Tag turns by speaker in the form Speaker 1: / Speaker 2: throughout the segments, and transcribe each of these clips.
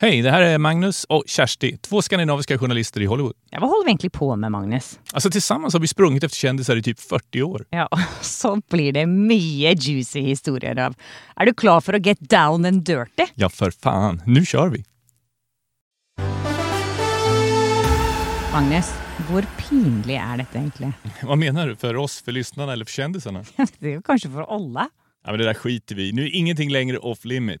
Speaker 1: Hej, det här är Magnus och Kersti, två skandinaviska journalister i Hollywood.
Speaker 2: Ja, vad håller vi egentligen på med, Magnus?
Speaker 1: Alltså tillsammans har vi sprungit efter kändisar i typ 40 år.
Speaker 2: Ja, så blir det mycket juicy historier av. Är du klar för att get down and dirty?
Speaker 1: Ja, för fan. Nu kör vi!
Speaker 2: Magnus, hur pinlig är detta egentligen?
Speaker 1: Vad menar du? För oss, för lyssnarna eller för kändisarna?
Speaker 2: Det är ju kanske för alla.
Speaker 1: Ja, men det där skiter vi i. Nu är ingenting längre off limit.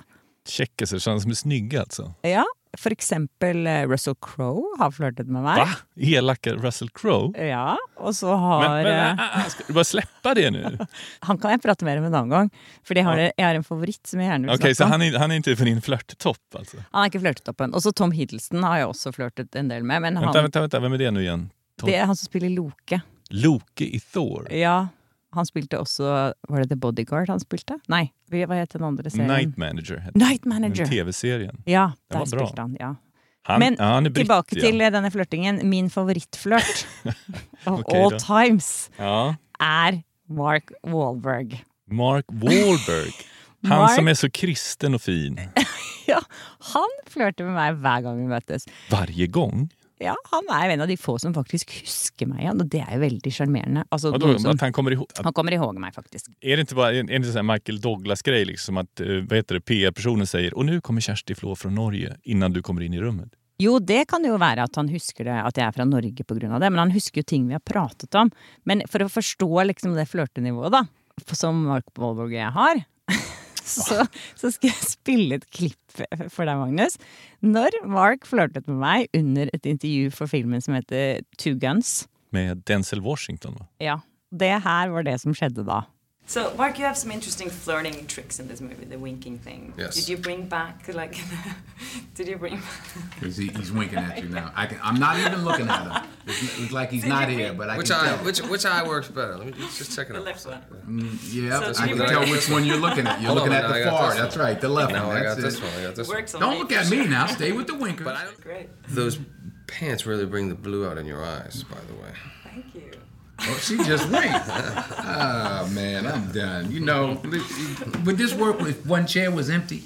Speaker 1: tjeckiser, sådana som är snygga alltså.
Speaker 2: Ja, for eksempel eh, Russell Crowe har flørtet med meg.
Speaker 1: Va? Elaka Russell Crowe?
Speaker 2: Ja, og så har
Speaker 1: Men, men,
Speaker 2: eh,
Speaker 1: ah, ah, ska du bara släppa det nu? Okej,
Speaker 2: Han kan jeg prate mer om en annen gang, for jeg har, jeg har en favoritt som jeg gjerne vil
Speaker 1: så
Speaker 2: snakke om.
Speaker 1: han är, han är inte för din flörttopp alltså?
Speaker 2: Han har ikke flørtet opp en. Og så Tom Hiddleston har jag också flørtet en del med. Men han,
Speaker 1: Vänta, vänta, vänta, vem är det nu igen? Tom-
Speaker 2: det er han som spiller Loke.
Speaker 1: Loke i Thor?
Speaker 2: Ja, han spilte også Var det The Bodyguard han spilte? Nei, hva het den andre serien?
Speaker 1: Night Manager hette
Speaker 2: Night
Speaker 1: den
Speaker 2: Manager.
Speaker 1: tv-serien.
Speaker 2: Ja,
Speaker 1: Den var
Speaker 2: der
Speaker 1: bra.
Speaker 2: spilte han. ja.
Speaker 1: Han,
Speaker 2: Men
Speaker 1: ja, han är britt,
Speaker 2: tillbaka
Speaker 1: ja.
Speaker 2: till eh, denna flörtingen. Min favoritflört of
Speaker 1: Okej
Speaker 2: all
Speaker 1: då.
Speaker 2: times
Speaker 1: Ja.
Speaker 2: är Mark Wahlberg.
Speaker 1: Mark Wahlberg. Han
Speaker 2: Mark-
Speaker 1: som är så kristen och fin.
Speaker 2: Ja, han flörtar med mig varje gång vi möttes.
Speaker 1: Varje gång.
Speaker 2: Ja, han är en av de få som faktiskt huskar mig igen och det är väldigt charmerande. Alltså,
Speaker 1: Vadå,
Speaker 2: någon som,
Speaker 1: att han kommer ihåg. Att,
Speaker 2: han kommer ihåg mig faktiskt.
Speaker 1: är det inte bara en, en sån här Michael Douglas-grej? Liksom att eh, vad heter det, PR-personen säger och nu kommer Kersti Flå från Norge innan du kommer in i rummet.
Speaker 2: Jo, det kan ju vara att han husker det, att jag är från Norge på grund av det, men han husker ju ting vi har pratat om. Men för att förstå liksom det flörtenivået då, som Mark Wahlberg och jag har, så, så ska jag spela ett klipp för- för dig, Magnus. När Mark flörtat med mig under ett intervju för filmen som heter Two Guns.
Speaker 1: Med Denzel Washington. Va?
Speaker 2: Ja, det här var det som skedde då.
Speaker 3: So, Mark, you have some interesting flirting tricks in this movie, the winking thing.
Speaker 4: Yes.
Speaker 3: Did you bring back, like, did you bring
Speaker 5: Because he, he's winking at you now. I can, I'm not even looking at him. It's, it's like he's not here, but I
Speaker 4: Which
Speaker 5: can
Speaker 4: eye?
Speaker 5: tell.
Speaker 4: Which which eye works better? Let me just check it
Speaker 3: the
Speaker 4: out.
Speaker 3: left one?
Speaker 5: yeah,
Speaker 3: So
Speaker 5: I
Speaker 3: you
Speaker 5: can
Speaker 3: bring-
Speaker 5: tell which one you're looking at. You're
Speaker 4: Hold on,
Speaker 5: looking at
Speaker 4: now I
Speaker 5: the
Speaker 4: got
Speaker 5: far.
Speaker 4: this one.
Speaker 5: That's right, the left
Speaker 4: No,
Speaker 5: one.
Speaker 4: Oh, I got
Speaker 5: That's
Speaker 4: this
Speaker 5: it.
Speaker 4: one. I got this one.
Speaker 3: Works on
Speaker 5: Don't look at me now. Stay with the winker.
Speaker 4: But I don't,
Speaker 3: Great.
Speaker 4: those pants really bring the blue out in your eyes, by the way.
Speaker 3: Thank you.
Speaker 5: Oh, she just winked. oh man, I'm done. You know, would this work if one chair was empty?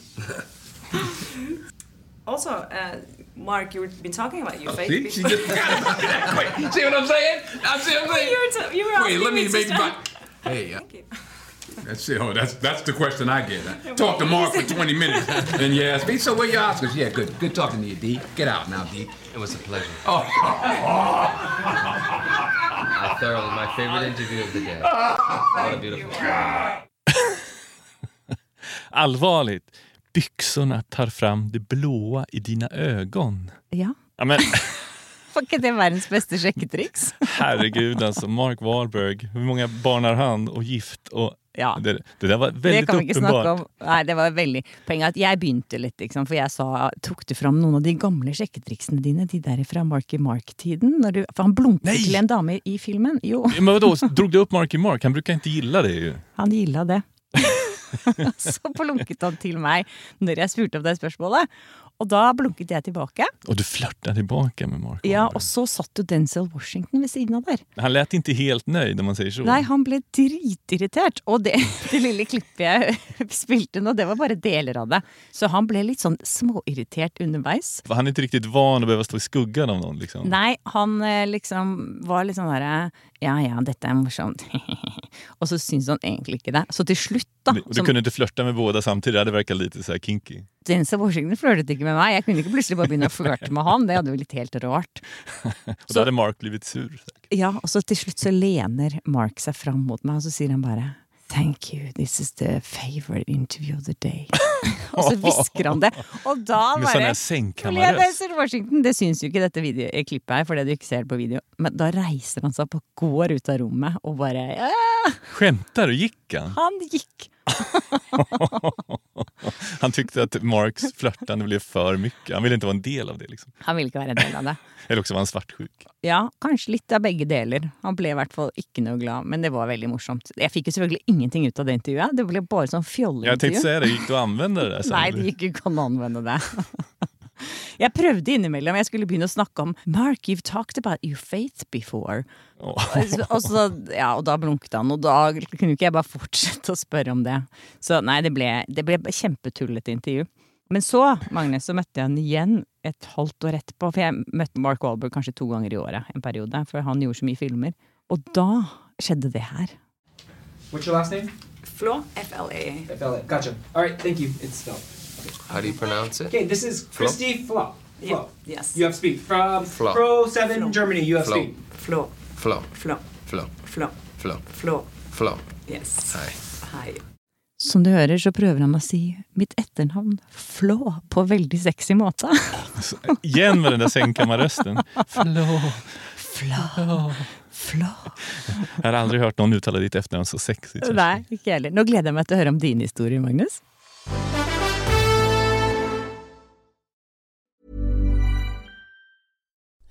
Speaker 3: Also, uh, Mark, you've been talking about
Speaker 5: Oh,
Speaker 3: your faith.
Speaker 5: See, she
Speaker 3: before.
Speaker 5: just forgot about that. Wait, you see what I'm saying? I see what I'm saying.
Speaker 3: you were, t- you were
Speaker 5: Wait,
Speaker 3: asking
Speaker 5: let me
Speaker 3: to
Speaker 5: make my.
Speaker 3: stop.
Speaker 5: Hey, uh,
Speaker 3: Thank you.
Speaker 5: that's it. Oh, that's that's the question I get. I talk to Mark for 20 minutes, and you ask me, so where your Oscars? Yeah, good, good talking to you, D. Get out now, D.
Speaker 4: It was a pleasure.
Speaker 5: Oh,
Speaker 4: I thoroughly, my favorite interview of the day. What a beautiful.
Speaker 1: Allvarligt. Byxorna tar fram det blåa i dina ögon.
Speaker 2: Ja.
Speaker 1: Ja, men,
Speaker 2: Var ikke det verdens beste sjekketriks?
Speaker 1: herregud alltså, Mark Wahlberg. Hur många barn har han? Och gift och...
Speaker 2: Ja.
Speaker 1: Det, det där var
Speaker 2: Det
Speaker 1: väldigt
Speaker 2: kan vi ikke snakke om.
Speaker 1: uppenbart.
Speaker 2: Nei, det var veldig Poenget er at jeg begynte litt, ikke sant? for jeg sa Tok du fram noen av de gamle sjekketriksene dine, de der fra Marky Mark-tiden? Når du, for han blunker
Speaker 1: Nei!
Speaker 2: til en dame i filmen. Jo,
Speaker 1: Men vadå, drog du upp Marky Mark? Han brukar inte gilla det ju.
Speaker 2: han gilla det. Så blunket han til meg når jeg spurte om det spørsmålet. Og da blunket jeg tilbake.
Speaker 1: Och du flörtade tillbaka med Mark
Speaker 2: Ja,
Speaker 1: Wahlberg.
Speaker 2: og så satt jo Denzil Washington ved siden av der.
Speaker 1: Han lät inte helt nöjd om man säger så.
Speaker 2: Nei, han ble dritirritert. Og det, det lille klippet jeg spilte nå, det var bare deler av det. Så han ble litt sånn småirritert underveis.
Speaker 1: För Han är inte riktigt van att behöva stå i skuggan av någon. Liksom.
Speaker 2: Nei, han eh, liksom var litt sånn derre Ja ja, dette er morsomt. og så syntes han egentlig ikke det. Så til slutt, da
Speaker 1: Du, du
Speaker 2: som-
Speaker 1: kunde inte flörta med båda samtidigt. Det verkar lite så här kinky.
Speaker 2: Denzel Washington flørtet ikke med meg. Jeg kunne ikke plutselig bare begynne å flørte med han. Det hadde jo blitt helt rart.
Speaker 1: Och då hade Mark blivit sur. säkert.
Speaker 2: Ja, og så til slutt så lener Mark seg fram mot meg, og så sier han bare Thank you, this is the favorite interview of the day. og så hvisker han det. Og da
Speaker 1: Med sån
Speaker 2: bare
Speaker 1: här
Speaker 2: Lea
Speaker 1: sängkammarröst.
Speaker 2: Denzel Washington, det syns jo ikke i dette video, i klippet her, fordi du ikke ser det på video, men da reiser han seg opp og går ut av rommet og bare «Ah!»
Speaker 1: Skämtar du? Gick han?
Speaker 2: Han gikk!
Speaker 1: Han tyckte att Marks flörtande blev för mycket. Han ville inte vara en del av det. Liksom.
Speaker 2: Han ville ikke være en del av det.
Speaker 1: Eller också var han svartsjuk.
Speaker 2: Ja, kanskje litt av begge deler. Han ble i hvert fall ikke noe glad, men det var veldig morsomt. Jeg fikk jo selvfølgelig ingenting ut av det intervjuet, det ble bare sånn
Speaker 1: Jag tänkte
Speaker 2: fjolleintervju.
Speaker 1: säga det, gick du att använda det där sen?
Speaker 2: Nei, det gikk jo ikke an å anvende det. Jeg prøvde innimellom. Jeg skulle begynne å snakke om Mark, you've talked about your faith before.
Speaker 1: Åh.
Speaker 2: Og så- og, så, ja, og da blunket han, og da kunne ikke jeg bare fortsette å spørre om det. Så nei, det ble, det ble kjempetullete intervju. Men så, Magnus, så møtte jeg han igjen et halvt år etterpå. For jeg møtte Mark Wahlberg kanskje to ganger i året en periode, for han gjorde så mye filmer. Og da skjedde det her.
Speaker 6: What's your last name?
Speaker 3: Flaw, F-L-A.
Speaker 6: Fella. Gotcha. All right, thank you. It's spelled.
Speaker 4: How do you pronounce it?
Speaker 6: Okay, this is Christy Flo.
Speaker 3: Yeah,
Speaker 6: Flo.
Speaker 3: yes.
Speaker 6: You have speak from
Speaker 4: Flo.
Speaker 6: Pro Seven Germany. You have
Speaker 4: Flo.
Speaker 6: speak.
Speaker 3: Flaw,
Speaker 4: Flo,
Speaker 3: flaw,
Speaker 4: Flo,
Speaker 3: flaw,
Speaker 4: Flo,
Speaker 3: flaw.
Speaker 4: Flo.
Speaker 3: Yes.
Speaker 4: Hi.
Speaker 3: Hi.
Speaker 2: Som du hører, så prøver han å si mitt etternavn Flå på veldig sexy måte.
Speaker 1: Igen med den där sängkammarrösten. Förlåt.
Speaker 2: Flå, flå.
Speaker 1: Jag har aldrig hört någon uttala ditt efternamn så sexigt. som
Speaker 2: Nei, ikke jeg heller. Nå gleder jeg meg til å høre om dine historier, Magnus.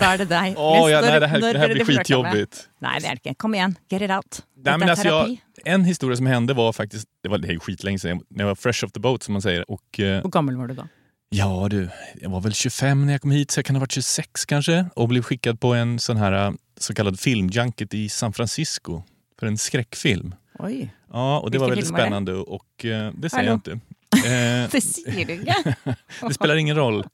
Speaker 2: da er det deg.
Speaker 1: Åh, ja,
Speaker 2: Neste-
Speaker 1: nei, det her-
Speaker 2: når
Speaker 1: det her
Speaker 2: blir
Speaker 1: blir
Speaker 2: det flørta med?
Speaker 1: skitjobbigt.
Speaker 2: Nei, det er det ikke. Kom igjen, get it out.
Speaker 1: Nej,
Speaker 2: Dette
Speaker 1: men
Speaker 2: er
Speaker 1: alltså
Speaker 2: terapi.
Speaker 1: jag, en historia som hände var faktiskt, det var det är ju skitlänge sedan, när jag var fresh off the boat som man säger. Och, eh,
Speaker 2: Hvor gammel var du da?
Speaker 1: ja du, jag var väl 25 när jag kom hit så jag kan ha varit 26 kanske och blev skickad på en sån här eh, så kallad filmjunket i San Francisco för en skräckfilm.
Speaker 2: Oj.
Speaker 1: Ja, och det var
Speaker 2: Vilken
Speaker 1: väldigt
Speaker 2: film var det?
Speaker 1: spännande och eh, det säger
Speaker 2: Hallå.
Speaker 1: jag inte. Eh,
Speaker 2: Det sier du ikke.
Speaker 1: det spelar ingen roll.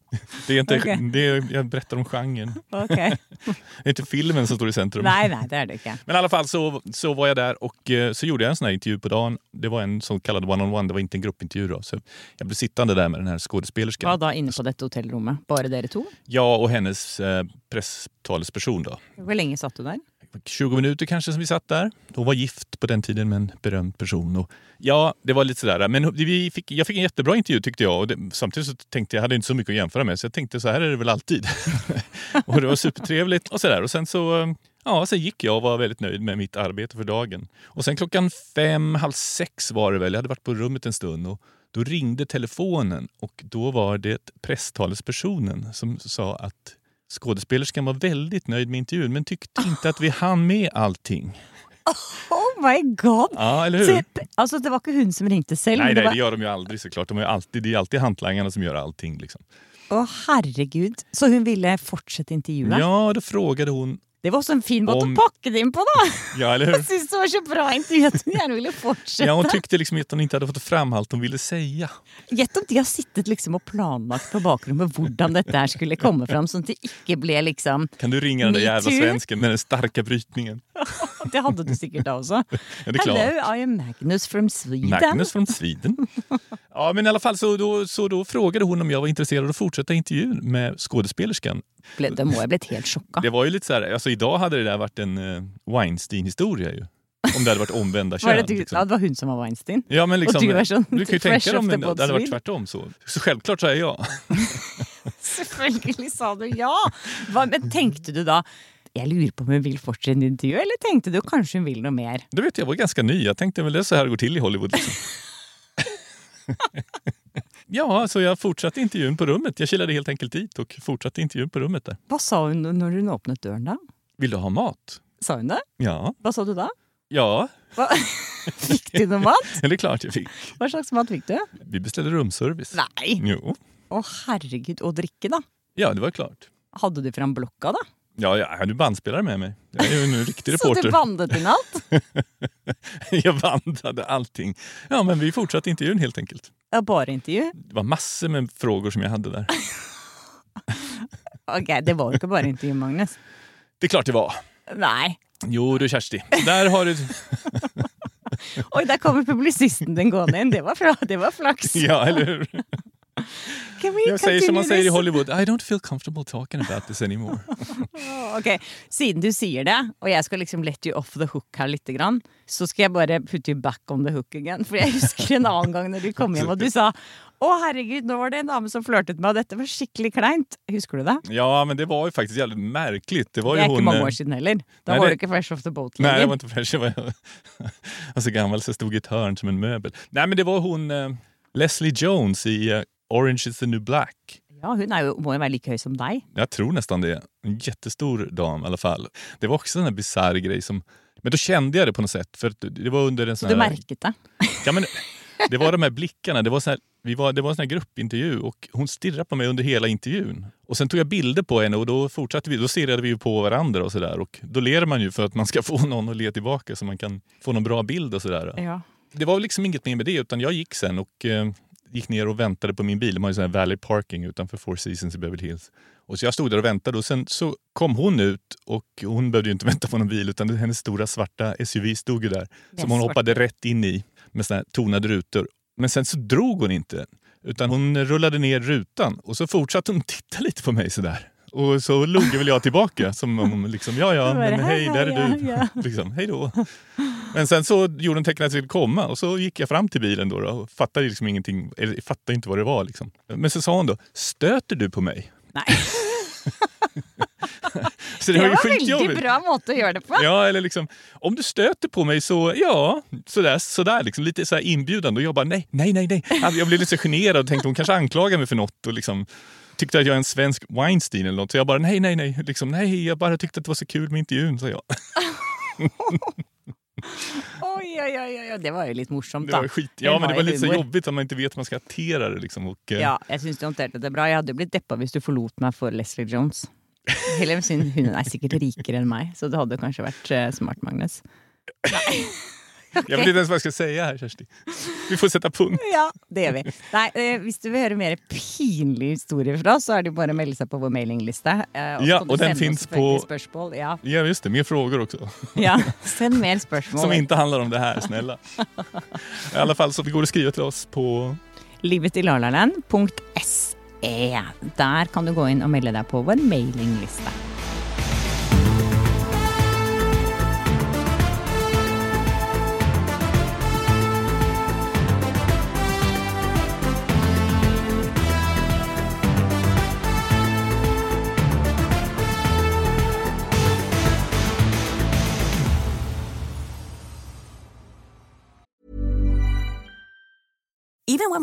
Speaker 1: Det är inte,
Speaker 2: Okej.
Speaker 1: det är, jag berättar om genren.
Speaker 2: Ok.
Speaker 1: Det är inte filmen som står i centrum.
Speaker 2: Nei, nei, det er det ikke.
Speaker 1: Men i alla fall så, så var jag där och eh, så gjorde jag en sån här intervju på dagen. Det var en så kallad one-on-one, det var inte en gruppintervju. Då. Så jag blev sittande där med den här skådespelerskan.
Speaker 2: Hva da inne på dette hotellrommet? Bare dere to?
Speaker 1: Jag och hennes eh, presstalesperson. Då.
Speaker 2: Hvor lenge satt du der?
Speaker 1: 20 minuter kanske som vi satt där. Hon var gift på den tiden med en berömd person. Och ja, det var lite sådär. Men vi fick, jag fick en jättebra intervju tyckte jag. Och det, samtidigt så tänkte jag, jag hade inte så mycket att jämföra med. Så jag tänkte så här är det väl alltid. och det var supertrevligt och sådär. Och sen så eh, ja, sen gick jag och var väldigt nöjd med mitt arbete för dagen. Och sen klockan fem, halv sex var det väl. Jag hade varit på rummet en stund. Och då ringde telefonen och då var det presstalespersonen som sa att Skådespelerskan var väldigt nöjd med intervjun men tyckte inte att vi hann med allting.
Speaker 2: Oh my god!
Speaker 1: Ja, eller
Speaker 2: Så,
Speaker 1: hur?
Speaker 2: altså, det var ikke hun som ringte selv.
Speaker 1: Nej,
Speaker 2: men det
Speaker 1: nej,
Speaker 2: var,
Speaker 1: det gör de ju aldrig såklart. De är ju alltid, det är ju alltid hantlangarna som gör allting. Liksom.
Speaker 2: Å, herregud. Så hun ville fortsette intervjuet?
Speaker 1: Ja, då frågade hon...
Speaker 2: Det var også en fin måte
Speaker 1: Om-
Speaker 2: å pakke det inn på, da!
Speaker 1: Ja, eller
Speaker 2: Jeg
Speaker 1: hur?
Speaker 2: syns det var så bra intervju at hun gjerne ville fortsette.
Speaker 1: Ja, hon tyckte liksom att hon inte hade fått fram allt hon ville säga.
Speaker 2: Gjett om de har sittet liksom og planlagt på bakrommet hvordan dette her skulle komme fram, sånn at det ikke ble liksom
Speaker 1: Kan du ringa den där
Speaker 2: Me
Speaker 1: jävla
Speaker 2: too.
Speaker 1: svensken med den starka brytningen?
Speaker 2: Det hadde du sikkert da også.
Speaker 1: Ja, det är klart.
Speaker 2: Hello, I am Magnus from Sweden.
Speaker 1: Magnus från Sweden. Ja, men i alla fall så då, så då frågade hon om jag var intresserad av att fortsätta intervjun med skådespelerskan.
Speaker 2: Ble, da må jeg blitt helt sjokka.
Speaker 1: Det var ju lite så här, alltså idag hade det där varit en eh, Weinstein-historia ju. Om det hade varit omvända
Speaker 2: Var det,
Speaker 1: kön.
Speaker 2: du,
Speaker 1: liksom.
Speaker 2: ja, det var hun som var Weinstein?
Speaker 1: Ja, men liksom,
Speaker 2: och du är sån typ
Speaker 1: du kan ju tänka
Speaker 2: fresh
Speaker 1: dig om
Speaker 2: off the
Speaker 1: det
Speaker 2: boat
Speaker 1: hade varit
Speaker 2: swing.
Speaker 1: tvärtom. Så, så självklart säger jag.
Speaker 2: Selvfølgelig sa du ja! Hva, men tenkte du da jeg lurer på om hun vil fortsette en intervju, eller tenkte du kanskje hun vil noe mer?
Speaker 1: Du vet, jag var ganska ny. Jag tänkte väl det är så här det går till i Hollywood. Liksom. ja, så jag fortsatte intervjun på rummet. Jag kilade helt enkelt dit och fortsatte intervjun på rummet där.
Speaker 2: Hva sa hun når hun åpnet døren da?
Speaker 1: Vill du ha mat?
Speaker 2: Sa hun det?
Speaker 1: Ja.
Speaker 2: Hva sa du da?
Speaker 1: Ja,
Speaker 2: Hva? Fikk du noe mat?
Speaker 1: det är klart jag fick.
Speaker 2: Hva slags mat fikk du?
Speaker 1: Vi beställde rumsservice.
Speaker 2: Nei!
Speaker 1: Jo.
Speaker 2: Å herregud, og drikke da?
Speaker 1: Ja, det var klart.
Speaker 2: Hadde du fram blokka da?
Speaker 1: Ja, jag hade bandspelare med mig. Jag är ju en riktig
Speaker 2: Så du
Speaker 1: reporter.
Speaker 2: bandet inn alt?
Speaker 1: jag vandrade allting. Ja, men vi fortsatte intervjun helt enkelt.
Speaker 2: Ja, bare intervju?
Speaker 1: Det var massor med frågor som jag hade där.
Speaker 2: Ok, det var jo ikke bare intervju, Magnus.
Speaker 1: Det är klart det var.
Speaker 2: Nei.
Speaker 1: Jo du Kersti, där har du...
Speaker 2: Oi, der kommer publisisten din gående inn. Det var, fra, det var flaks.
Speaker 1: Ja, eller hur?
Speaker 2: Can we
Speaker 1: Jag säger som man säger
Speaker 2: continue
Speaker 1: i
Speaker 2: this?
Speaker 1: Hollywood, I don't feel comfortable talking about this anymore.
Speaker 2: Åh, Ok, Siden du sier det, og jeg skal liksom let you off the hook her litt, grann, så skal jeg bare put you back on the hook again. For jeg husker en annen gang når du kom hjem og du sa å herregud, nå var det en dame som flørtet med meg, og dette var skikkelig kleint. Husker du det?
Speaker 1: Ja, men det var ju faktiskt jävligt märkligt. Det var
Speaker 2: Det
Speaker 1: ju
Speaker 2: er
Speaker 1: hon...
Speaker 2: ikke mange
Speaker 1: eh,
Speaker 2: år siden heller. Da
Speaker 1: Nei,
Speaker 2: var du
Speaker 1: det-
Speaker 2: ikke fresh off the boat
Speaker 1: Nej, det var
Speaker 2: lenger.
Speaker 1: inte fresh. Jag var jag var så gammal så jag stod i ett hörn som en möbel. Nej, men det var hon eh, Leslie Jones i eh, Orange is the new black.
Speaker 2: Ja, Hun er jo, må jo være like høy som deg.
Speaker 1: Jag tror nästan det. En jättestor dam i alla fall. Det var också en sån här bisarr grej som... Men då kände jag det på något sätt. För att det var under en sån
Speaker 2: Så du
Speaker 1: här...
Speaker 2: merket det.
Speaker 1: Ja, men det var de här blickarna. Det var, så här, vi var, det var en sån här gruppintervju och hon stirrade på mig under hela intervjun. Och Sen tog jag bilder på henne och då fortsatte vi. Då stirrade vi ju på varandra och sådär. Då ler man ju för att man ska få någon att le tillbaka så man kan få någon bra bild och sådär.
Speaker 2: Ja.
Speaker 1: Det var liksom inget mer med det utan jag gick sen och eh, gick ner och väntade på min bil. De har ju sån här Valley Parking utanför Four Seasons i Beverly Hills. Och så jag stod där och väntade och sen så kom hon ut och hon behövde ju inte vänta på någon bil utan hennes stora svarta SUV stod ju där som hon
Speaker 2: svarta.
Speaker 1: hoppade rätt in i med såna här tonade rutor. Men sen så drog hon inte utan hon rullade ner rutan och så fortsatte hon titta lite på mig sådär. Och så log väl jag tillbaka som om liksom, ja ja,
Speaker 2: Då var det,
Speaker 1: men hej,
Speaker 2: "Hej,
Speaker 1: där
Speaker 2: hej,
Speaker 1: är du.
Speaker 2: ja,
Speaker 1: Liksom, hej då. Men sen så gjorde hon tecknet att jag skulle komma och så gick jag fram till bilen då, då och fattade liksom ingenting, eller fattade inte vad det var. Liksom. Men så sa hon då, stöter du på mig?
Speaker 2: Nej.
Speaker 1: Så
Speaker 2: det, var,
Speaker 1: ju
Speaker 2: väldigt
Speaker 1: skitjobbigt.
Speaker 2: bra måte att göra det på.
Speaker 1: Ja, eller liksom, om du stöter på mig så, ja, sådär, sådär liksom, lite så här inbjudande. Och jag bara, nej, nej, nej, nej. Alltså, Jag blev lite så generad och tänkte hon kanske anklagar mig för något och liksom tyckte att jag är en svensk Weinstein eller något. Så jag bara, nej, nej, nej, liksom, nej, jag bara tyckte att det var så kul med intervjun, sa jag.
Speaker 2: Oj, oj, oj, oj, det var ju lite morsomt.
Speaker 1: Det
Speaker 2: da.
Speaker 1: var skit, ja, men det var
Speaker 2: ju
Speaker 1: lite så
Speaker 2: humor.
Speaker 1: jobbigt att man inte vet hur man ska hantera det liksom. Och, eh,
Speaker 2: Ja, jeg syns du håndterte det bra. Jeg hadde jo blitt deppa hvis du forlot meg for Leslie Jones. Heller siden hun er sikkert rikere enn meg, så det hadde kanskje vært eh, smart, Magnus.
Speaker 1: Jag vet inte ens vad jag ska säga här, Kersti. Vi får sätta punkt.
Speaker 2: Ja, det gjør vi. Nei, eh, hvis du vil høre mer pinlige historier fra oss, så er det jo bare å melde seg på vår mailingliste. eh,
Speaker 1: Ja,
Speaker 2: så kan du
Speaker 1: og den
Speaker 2: sende oss
Speaker 1: finns
Speaker 2: selvfølgelig
Speaker 1: på-
Speaker 2: Spørsmål. Ja.
Speaker 1: Ja, just det. Mer frågor också.
Speaker 2: ja, send mer spørsmål.
Speaker 1: Som inte handlar om det här, snälla. I alla fall, så vi går att skriva till oss på...
Speaker 2: Livetilalalen.se. Der E. kan du gå inn og melde deg på vår mailingliste.
Speaker 7: Even when